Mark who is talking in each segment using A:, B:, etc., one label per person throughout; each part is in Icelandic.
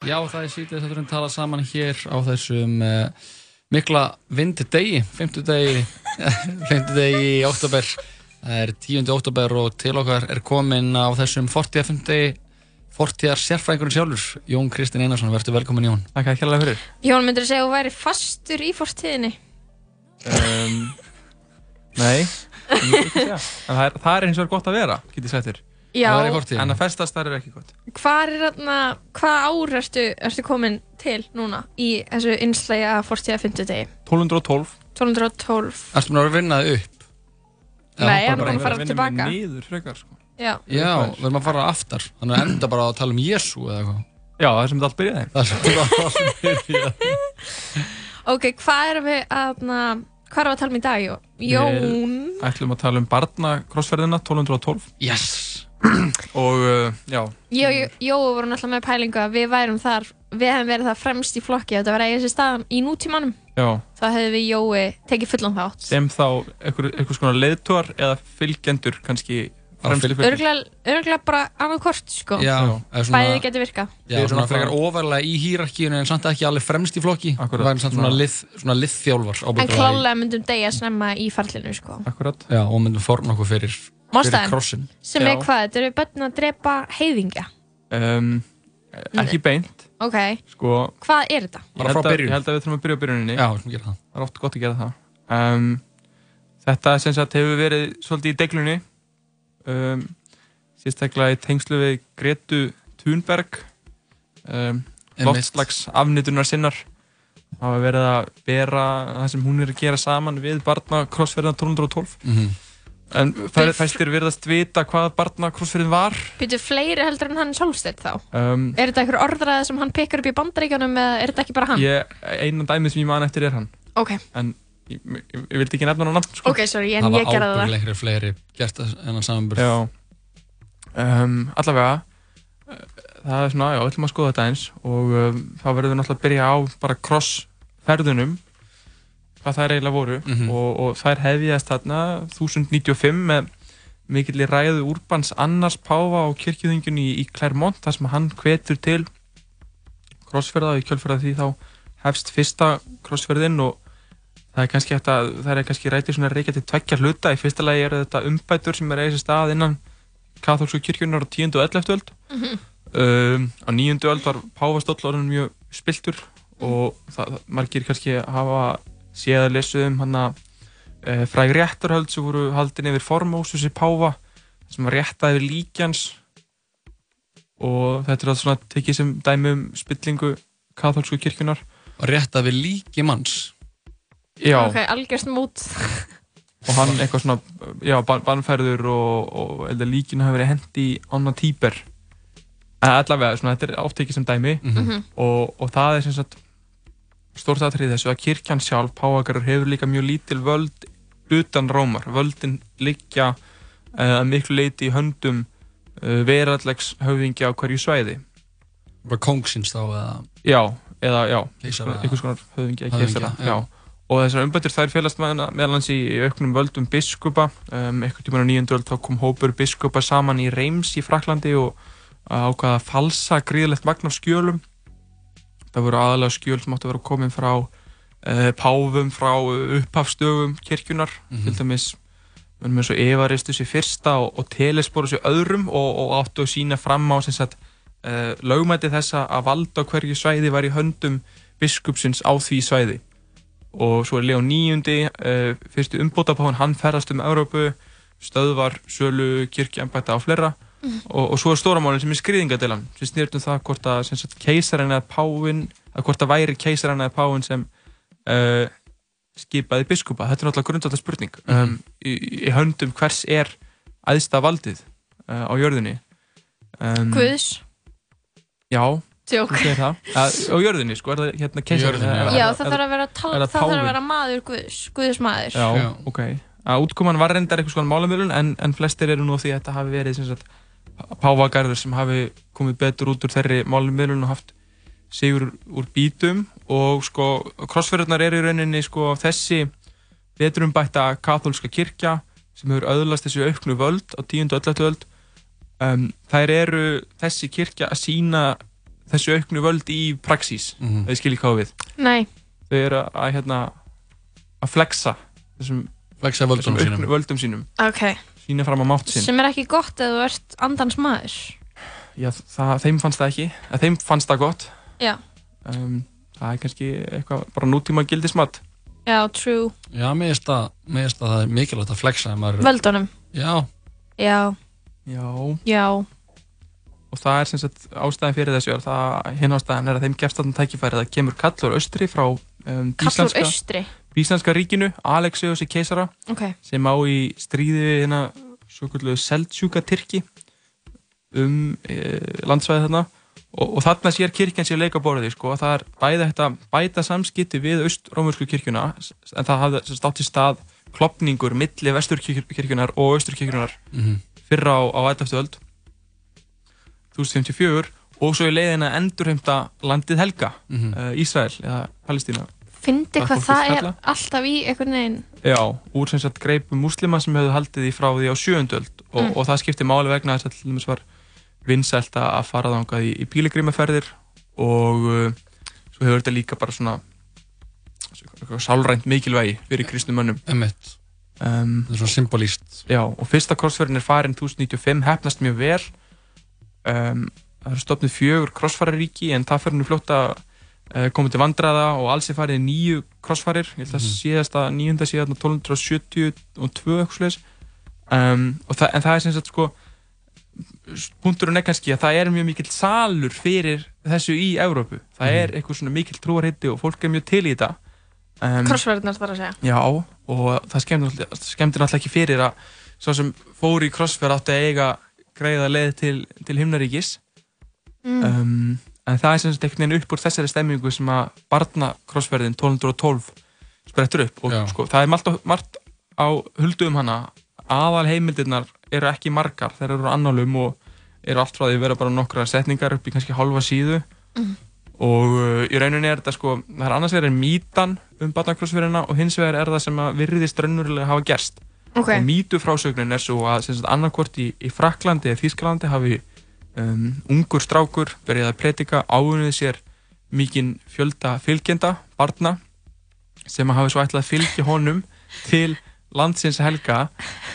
A: Já, það er sítið þátturinn tala saman hér á þessum uh, mikla vindidegi, fymtudegi, fymtudegi í oktober. Það er 10. oktober og til okkar er komin á þessum 40. fymtudegi, 40. sérfræðingurinn sjálfur, Jón Kristinn Einarsson, verður velkomin Jón.
B: Takk að kjærlega fyrir.
C: Jón, myndur þú segja að þú væri fastur í fortíðinni?
B: Um, nei, ég myndi ekki segja. en það er, það er eins og er gott að vera, get ég sagt þér.
C: Já,
A: Það er í fortíðinni.
B: En að festast það er ekki gott.
C: hvað er þarna, hvað ár ertu, ertu komin til núna í þessu innslægi að fortíða 50 degi?
B: 1212.
C: 1212,
A: Erstu mér að vinna það upp? Eða
C: Nei,
A: bara
C: hann er
A: bara-
C: búinn að fara
B: Vinnum
C: tilbaka.
B: við niður frekar, sko.
C: já,
A: Já, við erum að fara aftar, þannig að enda bara að tala um Jésu eða eitthvað.
B: Já, það er sem þetta allt byrjaði.
A: Það er bara að byrja.
C: ok, hvað erum við aðna, hvað erum við að tala um í dag, Jón? Jón,
B: Ætlum að tala um barnakrossferðina 1212
A: Yes!
B: og uh, já,
C: Jó, Jó, Jó voru náttúrulega með pælingu að við værum þar, við hefum verið það fremst í flokki, þetta var eigið sér staðan í nútímanum,
B: já,
C: þá hefðum við Jói tekið fullan þátt.
B: sem þá einhver- einhvers konar leiðtúar eða fylgjendur kannski fremstu fylgjur.
C: Örglega, örglega bara annað kort, sko,
A: Já,
B: Já.
A: eða svona-
C: bæðið getur virkað.
A: Já,
B: Við erum
A: svona
B: að
A: frekar
B: fara-
A: ofarlega í hýrarkíunni en samt ekki alveg fremst í flokki
B: Akkúrat.
A: Við værum samt svona,
B: Já.
A: lið, svona liðþjálfar
C: En
A: ábyggilega í-
C: klálega myndum degja snemma í farlinu, sko.
B: Akkurat.
A: Já, og myndum forna okkur fyrir, fyrir
C: Mástæðan,
A: krossin
C: sem
B: Já.
C: er hvað? Þetta eru börn að drepa heiðingja.
B: Um, ekki beint,
C: Ok,
B: sko.
C: hvað er þetta?
B: Ég
A: Bara frá
B: held að-
A: byrjun.
B: Ég held að við þurfum að byrja á byrjuninni.
A: Já, við skulum gera það
B: það er oft gott að gera það um, þetta sem sagt hefur verið svolítið í deglunni um, sérstaklega í tengslu við Gretu Thunberg um,
A: Einmitt.
B: loftslags afnitunar sinnar hafa verið að bera það sem hún er að gera saman við barna krossferðina 1212
A: Mhm.
B: en fæ- fæstir virðast vita hvað barna krossferðin var
C: Býtu fleiri heldur en hann Solstedt þá?
B: um,
C: Er þetta einhver orðræða sem hann pikkar upp í bandaríkjunum eða er þetta ekki bara hann?
B: ég, einan dæmið sem ég man eftir er hann
C: Ok,
B: ég, ég, ég vildi ekki nefna hann á nafn sko.
C: ok, sorry, en
A: Það
C: ég
A: var
C: gerði það.
A: ábyggilegri fleiri gert það en að samanbyrð
B: Já um, Allavega eh, Það er svona, já, við ætlum að skoða þetta eins og um, þá verðum við náttúrulega að byrja á bara crossferðunum hvað þær eiginlega voru
A: Mhm.
B: og, og þær hefjast þarna 1095 með mikilli ræðu Úrbans annars Páfa á kirkjöðingunni í, í Clermont þar sem hann hvetur til crossferða og í kjölferða því þá hefst fyrsta crossferðin og það er kannski hægt að það er kannski rætið svona reykja til tveggja hluta í fyrsta lagi eru þetta umbætur sem er eigið stað innan katholsku kirkjunar á 10. og 11. öld um, á 9. öld var páfastóll orðin mjög spiltur og það, það- margir kannski hafa séð að lesu um hann að e, fræg réttarhöld sem voru haldin yfir formósus í páfa sem var réttað yfir líkjans og þetta er allt svona tekið sem dæmi um spillingu katholsku kirkjunar
A: Og rétt að við líki manns
B: Já,
C: Ok, algjörst mút.
B: og hann eitthvað svona já, ban bannferður og, og elda líkinu hafi verið hendi í Anna Tíber en allavega, svona, þetta er átt ekki sem dæmi
C: Mhm.
B: og, og það er sem sagt stórt aðtrið þessu að kirkjan sjálf páakarur hefur líka mjög lítil völd utan rómar, völdin liggja eh, að miklu leiti í höndum uh, verallegs höfðingja á hverju svæði
A: Bara kóngsins þá eða
B: já, eða já,
A: keisara eða-
B: einhvers konar höfðingi eða
A: Höfðingja,
B: keisara
A: já.
B: já. og þessar umbættir þær félast meðan- meðal hans í í auknum völdum biskupa um, eitthvað tíma á nýjöndu öld þá kom hópur biskupa saman í Reims í Fraklandi og ákvaða að falsa gríðlegt magn af skjölum það voru aðalega skjöl sem áttu að vera komin frá uh, páfum, frá upphafstögum kirkjunar,
A: Mhm.
B: til dæmis mennum eins og Evaristus í fyrsta og, og Telesborus í öðrum og, og áttu að sína fram á sem sagt uh, lögmæti þessa að valda á hverju svæði var í höndum biskupsins á því svæði og svo er Leon níundi uh, fyrstu umbótapáin, hann ferðast um Európu, stöðvar, sölu kirkjambætta og fleira og, og svo er stóramálinn sem er skriðingadilan sem snýrt um það hvort að sem sagt, keisarinn eða páin, að hvort að væri keisarinn eða páin sem uh, skipaði biskupa, þetta er náttúrulega grundvallar spurning um, í, í höndum hvers er æðsta valdið uh, á jörðinni um,
C: Mm. Guðs,
B: Já,
C: tjók.
B: þú segir það að, á jörðinni sko, er það hérna keisarinn
A: Jörðinni,
B: eða-
C: Já,
B: eða-
C: það þarf að vera, tal,
B: er það
C: það þarf að
B: páfinn?
C: vera maður Guðs, Guðs maður.
B: já,
A: Já.
B: ok að útkoman var reyndar einhvers konar málamilun en, en flestir eru nú á því að þetta hafi verið sem sagt, páfagarður sem hafi komið betur út úr þeirri málamilun og haft sigur úr bítum og sko krossferðunar eru í rauninni sko þessi veturumbætta katholska kirkja sem hefur öðlast þessu auknu völd á tíundu öllatu öld um, þær eru þessi kirkja að sína þessu auknu völd í praxís mm
A: Mhm.
B: -hmm. þau skiljið hvað á við
C: Nei,
B: þau eru að, að, hérna, að flexa þessum,
A: Veksa
B: þessum
A: völdunum
B: auknu
A: sínum
B: völdum sínum
C: ok
B: sína fram á mátt sinn
C: Sem er ekki gott ef þú ert andans maður
B: Já, það, þeim fannst það ekki, að þeim fannst það gott
C: Já.
B: um, það er kannski eitthvað bara nútíma gildismat
C: Já, true,
A: Já, mér finnst að, mér finnst að það er mikilvægt að flexa ef maður,
C: völdunum
A: Já,
C: Já,
B: Já. og
C: já,
B: það er sem sagt ástæðan fyrir þessu er það, hinn ástæðan er að þeim gefst þarna tækifæri það kemur kallur austri frá um,
C: kallur
B: íslenska,
C: austri
B: íslenska ríkinu Alexeus í keisara
C: Ok,
B: sem á í stríði við hérna svo kvöldu Seldsjúka Tyrki um e, landsvæði þarna og, og þarna sér kirkjan sér leikaborði sko, það er bæði þetta bæta samskipti við austrómursku kirkjuna s- en það hafði sem sagt átt í stað klopningur milli vesturkirkjunar og austurkirkjunar
A: mm
B: fyrra á, á 11. öld 1054 og svo í leiðina endurheimta landið helga
A: Mhm.
B: mm. Ísrael eða Palestína
C: fyndi
B: Það
C: hvað
B: fólk
C: það
B: vill
C: er
B: kalla.
C: alltaf í einhvern veginn
B: Já, úr sem sagt greipum múslima sem höfðu haldið því frá því á sjöundöld og,
C: Mm.
B: og það skipti máli vegna þess að til dæmis var vinsælt að að fara þangað í, í bíligrimaferðir og uh, svo hefur þetta líka bara svona eitthvað sálrænt mikilvægi fyrir kristnum mönnum
A: emmitt
B: um,
A: Það er svona symbolíst
B: Já, og fyrsta krossferðin er farin 1095, hefnast mjög vel um, Það eru stopnið fjögur krossfararíki en það fyrir nú fljótt að uh, komið til vandræða og alls er farið í nýju krossfarir ég held að
A: Mhm.
B: síðast að nýjunda síðan 1272 eitthvað svoleiðis. um, og það, en það er sem sagt sko punkturinn er kannski að það er mjög mikill salur fyrir þessu í Evrópu það
A: Mhm.
B: er eitthvað svona mikill trúarhiti og fólk er mjög til í þetta um,
C: Krossverðnar þarf að segja
B: Já, og það skemmdi náttúrulega, skemmdi náttúrulega ekki fyrir að svo sem fór í crossfit átti að eiga greiða leið til, til himnaríkis
C: mm.
B: um, en það er sem sagt einhvern veginn upp úr þessari stemmingu sem að barna crossferðin 1212 sprettur upp og
A: Já.
B: sko, það er margt á, margt á huldu um hana aðal heimildirnar eru ekki margar þeir eru annálum og eru allt frá því að vera bara nokkra setningar upp í kannski halva síðu
C: Mhm.
B: og uh, í rauninni er þetta sko það er annars vegar er mýtan um barnakrossferðina og hins vegar er það sem að virðist raunverulega hafa gerst
C: Ok,
B: og mýtufrásögnin er svo að sem sagt, annarkvort í, í Fraklandi eða Þýskalandi hafi um, ungur strákur verið að predika áunnið sér mikinn fjölda fylgjenda, barna sem að hafi svo ætlað að fylgja honum til landsins helga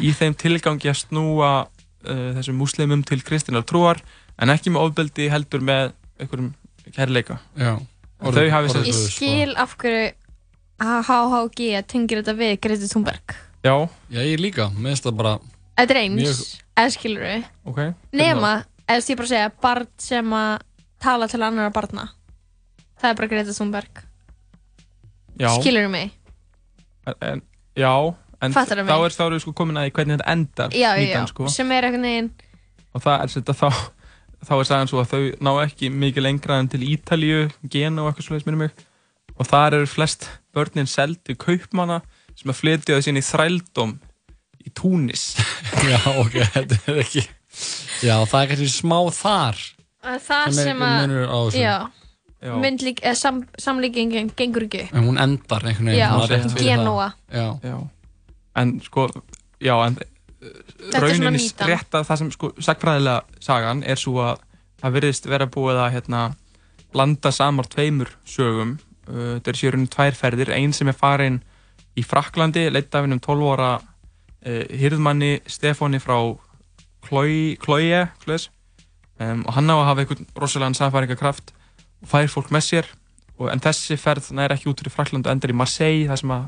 B: í þeim tilgangi að snúa uh, þessum múslimum til kristinar trúar en ekki með ofbeldi heldur með einhverjum kærleika
A: Já
B: Þau hafi sem-
A: sko.
C: ég skil af hverju HHG tengir þetta við Greti Thunberg
B: Já,
A: Já, ég líka, mér finnst það bara
C: Þetta er eins,
A: Mjög-
C: eða skilur við
B: ok
C: Nema, eða ég bara segja, barn sem að tala til annara barna Það er bara Greta Thunberg
B: Já,
C: Skilur við mig?
B: en, já en þá
C: Fattarðu mig?
B: er þá eru við sko komin að því hvernig þetta endar
C: Já, já, já,
B: mýtan, sko.
C: sem er einhvern veginn
B: og það er þetta þá þá er sagan svo að þau ná ekki mikið lengra en til Ítalíu, Gena og eitthvað svoleiðis minni mig og þar eru flest börnin seld til kaupmanna sem að flytja þessi inn í þrældóm í Túnis
A: Já, ok, þetta er ekki Já, það er kannski smá þar
C: að Það
A: sem er
C: sem
A: einhver
C: að,
A: munur á þessu
C: já,
B: Já,
C: myndlík, eða sam, samlíkingin gengur ekki upp
A: En hún endar einhvern veginn
C: Já,
A: svona rétt
B: Fyrir
C: Genóa,
A: það. Já,
B: já. en sko já, en eh,
C: er svona
B: rauninni
C: mýtan.
B: rétt að það sem sko sagfræðilega sagan er svo að það virðist vera búið að hérna, blanda samar tveimur sögum uh, þetta er sérunum tvær ferðir ein sem er farin í Fraklandi leitt af hennum 12 ára uh, hirðmanni Stefáni frá Klói, Klói um, og hann á að hafa einhvern rosalega samfæringarkraft og fær fólk með sér og, en þessi ferð nær ekki út fyrir Frakland og endar í Marseille það sem að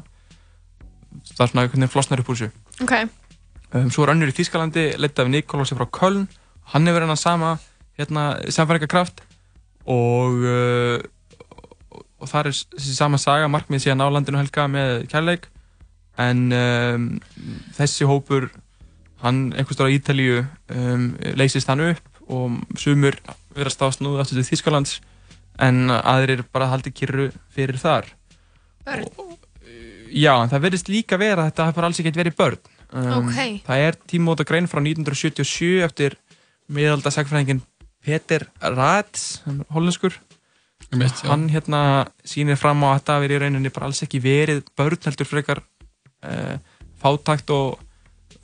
B: það er svona einhvern veginn flosnar upp úr þessu
C: ok
B: um, svo er önnur í Þýskalandi leitt af Nikolási frá Köln hann hefur hennar sama hérna, samfæringarkraft og, uh, og, og þar er s- þessi sama saga markmið síðan á landinu helga með kærleik en um, þessi hópur hann einhvers staðar á Ítalíu um, leysist hann upp og sumur verðast á snúðu aftur til Þýskalands en aðrir bara haldi kyrru fyrir þar
C: Börn.
B: Já, en það verðist líka vera að þetta hafi bara alls ekki verið börn um,
C: Ókei.
B: Það er tímóta grein frá 1977 eftir miðalda sagfræðingin Peter Ratz, hann er hollenskur
A: mitt, já
B: hann hérna sýnir fram á að þetta hafi í rauninni bara alls ekki verið börn heldur frekar uh, fátækt og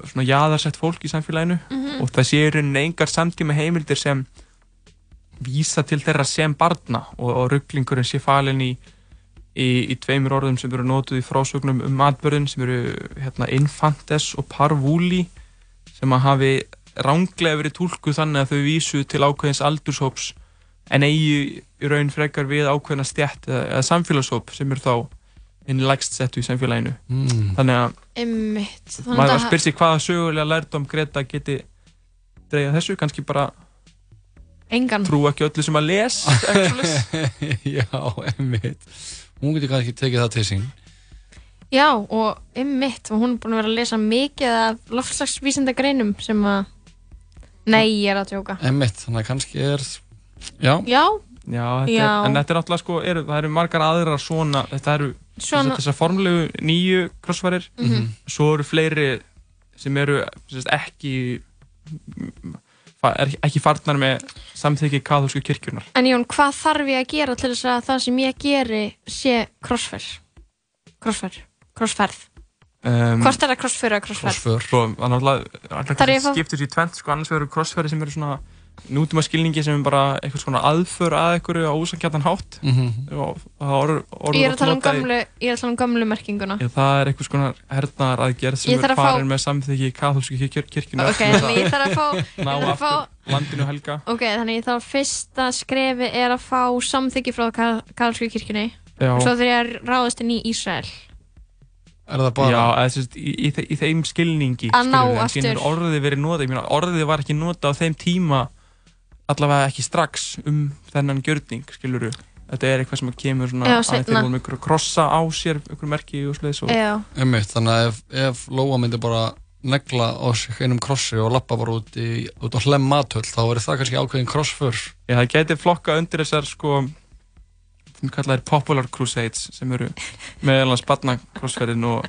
B: svona jaðarsett fólk í samfélaginu og það sé í rauninni engar samtíma heimildir sem vísa til þeirra sem barna og, og rugglingurinn sé falin í, í, í tveimur orðum sem eru notuð í frásögnum um matbörðin sem eru hérna, infantes og parvúli sem að hafi ránglega verið tólkuð þannig að þau vísu til ákveðins aldurshóps en eigi í raun frekar við ákveðna stjætt eða, eða samfélagshóp sem eru þá inn lægst settu í samfélaginu
A: mm.
B: þannig að
C: Einmitt. Þannig
B: maður
C: að-
B: spyr sér hvaða sögulega lærdóm Greta geti dreigja þessu, kannski bara
C: Engan.
B: trú ekki öllu sem að les actually.
A: Já, einmitt Hún getur kannski tekið það til sín
C: Já, og einmitt. Og hún er búin að vera að lesa mikið af loftslagsvísindagreinum sem að... Nei, ég er að tjóka.
A: Einmitt, þannig að kannski er Já,
C: Já,
B: Já, þetta Er,
C: Já.
B: en þetta er náttúrulega sko, er, það eru margar aðrar svona, þetta eru
C: svona...
B: þessar formlegu nýju krossvarir,
C: Mhm.
B: svo eru fleiri sem eru sérst, ekki fa- er ekki farnar með samþykki katholsku kirkjurnar.
C: En Jón, hvað þarf ég að gera til þess að það sem ég geri sé crossferð? Crossferð? Crossferð?
B: Um,
C: Hvort er það crossferð eða crossferð?
A: crossför
B: Svo, það náttúrulega,
C: Þarf ég
B: alltaf
C: að fá-
B: skiptur í tvent, sko, annars verður krossfæri sem eru svona nútíma skilningi sem er bara eitthvað svona aðför að einhverju á úsankjartan hátt
A: mm
B: og það orður orð,
C: Ég er að tala um
B: notað í-
C: gamlu, ég er að tala um gamlu merkinguna.
B: Já, það er eitthvað svona hernaðar aðgerð
C: Ég
B: sem
C: þarf
B: er
C: að fá-
B: farin með samþykki katholsku kirkjur, kirkjurnar
C: Ok, þannig ég þarf að fá,
B: ná
C: ég þarf að
B: aftur
C: fá,
B: landinu helga
C: ok, þannig ég þarf að fyrsta skrefi er að fá samþyggi frá katholsku kirkjunni.
B: Já,
C: Svo þegar ég að ráðast inn í Ísrael.
A: Er það
B: já
A: bara
B: eða, sérst, í, í, þe- í þeim skilningi
C: Að ná
B: skilurðu, en síðan
C: aftur.
B: hefur orðið verið notað, ég meina orðið var ekki notað á þeim tíma allavega ekki strax um þennan gjörning skilur þetta er eitthvað sem kemur svona
C: Já,
B: að þeir
C: seinna.
B: voru með einhverju krossa á sér einhverju merki og sliðis og
C: Já,
A: Einmitt, þannig að ef, ef Lóa myndi bara negla á sig einum krossi og lappa bara út, í, út á hlem matöll þá verður það kannski ákveðin crossför
B: já, það gæti flokka undir þessar sko sem kallaðir popular crusades sem eru meðal hans batna crossferðin og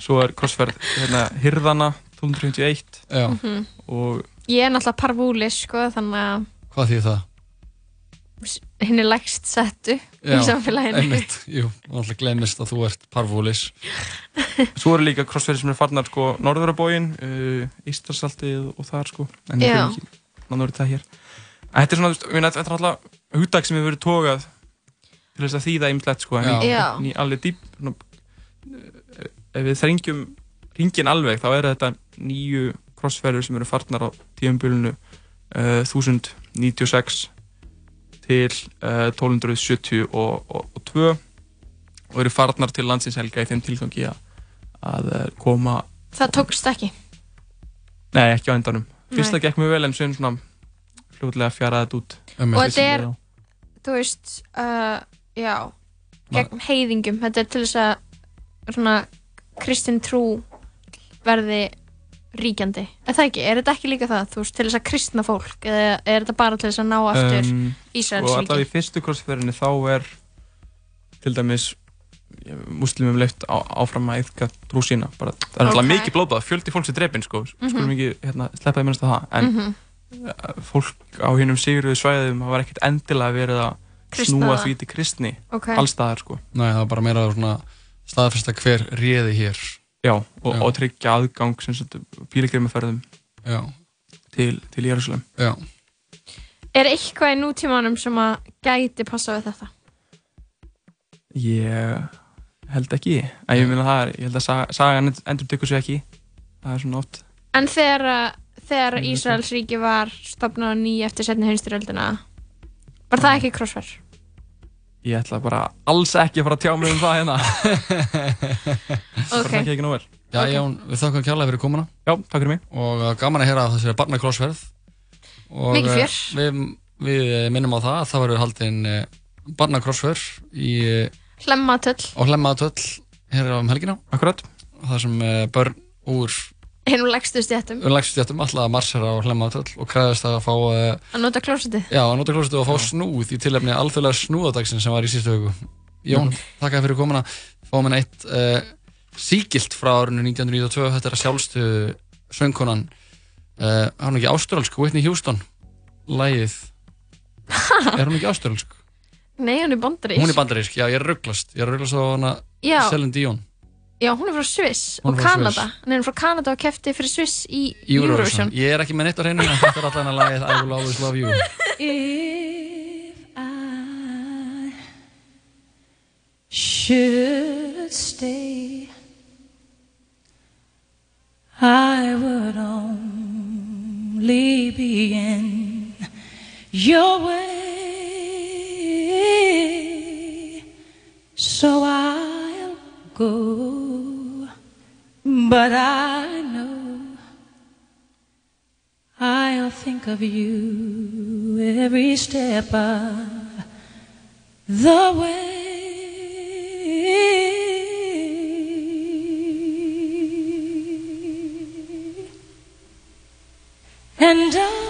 B: svo er crossferð hérna hirðana 1251
A: Já,
C: Mm. Mhm.
B: og
C: ég er náttúrulega parvúlis, sko, þannig að
A: hvað þýðir það?
C: hinn er lægst settu í
A: Já,
C: samfélaginu.
A: einmitt, jú, alltaf glemist að þú ert parvúlis
B: svo eru líka crossferðir sem eru farnar sko norðurabógin, uh, Ístarsaltið og þar sko, en ég
C: Já.
B: fyrir ekki náður þetta hér. En þetta er svona, þú veist, ég meina, þetta er alltaf hugdag sem hefur verið tókað til þess að þýða ymslegt sko, en
A: Já.
B: í-
C: Já.
B: en í alveg dýp, svona, eh, ef við þrengjum ringin alveg, þá eru þetta nýju crossferðir sem eru farnar á tíumbölinu uh, 1096 til uh, 1272 og, og, og, eru farnar til landsins helga í þeim tilgangi að, að eh, koma
C: Það tókst ekki.
B: Nei, ekki á endanum. Fyrst
C: Nei.
B: það gekk mjög vel en síðan svona fljóðlega fjaraði þetta út.
A: Einmitt.
C: Og
B: Þeir sem
C: þetta er-
B: eru á-
C: þú veist uh, já, gegn heiðingum þetta er til þess að svona kristin trú verði ríkjandi er það ekki, er þetta ekki líka það, þú veist, til þess að kristna fólk eða er þetta bara til þess að ná aftur um,
B: Um, og
C: Ísraels
B: allavega
C: ríki
B: í fyrstu krossferðinni þá er til dæmis ja, muslimum leift á, áfram að eitthvað trú sína. Bara, það er
C: Ok.
B: alltaf mikið blóðbað, fjöldi fólk sem drefin sko.
C: Mhm.
B: Skulum ekki hérna, sleppa því minnast að það. En eh,
C: mm -hmm.
B: fólk á hinnum sigruðu svæðum það var ekkert endilega verið að snúa því til kristni allstaðar sko.
A: Nei, það var bara meira svona staðfesta hver réði hér
B: Já, og,
A: Já.
B: og tryggja aðgang sem sagt pílagrimaferðum
A: Já,
B: til, til Jérúsalem.
A: já
C: er eitthvað í nútímanum sem að gæti passa við þetta
B: Ég held ekki en ég meina það er, ég held að saga, sagan endur tekur sér ekki það er svona oft
C: en þegar, að- þegar
B: Ég veit
C: Ísraels ríki var stopnað á ný eftir setni heimstyröldina var það ekki krossverð
B: ég ætla bara alls ekki að fara að tjá mig um það hérna okay. bara
C: ok,
B: þekki ekki nóg vel
A: Já,
C: Ok.
A: okay. Jón, við þakkum kjærlega fyrir komuna
B: Já, takk fyrir mig
A: og uh, gaman að heyra af þessari barnakrossferð og
C: Mikið
A: uh,
C: fjör.
A: við, við uh, minnum á það að það verður haldin uh, barnakrossferð í, uh,
C: hlemma töll
A: á hlemmaðatöll hér um helgina
B: Akkurat
A: þar sem uh, börn úr
C: hinn og lægstu stjættum
A: unlægstjötum alltaf að marsera á hlemmaðatöll og kreðast að fá uh,
C: að nota klósitið
A: já, að nota klósetu og fá snúð í tilefni alþjóðlega snúðadagsinn sem var í síðustu hugu Jón, þakka þér fyrir komuna fáum henni eitt uh, síkilt frá árinu 1992 þetta er að sjálfstu söngkonan uh, er hún ekki ástrálsk, Whitney Houston lægið er hún ekki ástrálsk?
C: Nei, hún er bandarísk.
A: Hún er bandarísk, já ég er rugglast ég er rugglast á hana
C: Já,
A: Celine Dion
C: já, hún er frá Sviss
A: Hún er
C: og
A: frá Sviss.
C: Kanada hún er frá Kanada og kefti fyrir Sviss í
A: Eurovision.
C: Eurovision
A: Ég er ekki með neitt á hreinu en þetta er allan að lagið I will always love you
D: If I should stay, I would only be in your way. So I'll go, but I know. I'll think of you every step of the way. And I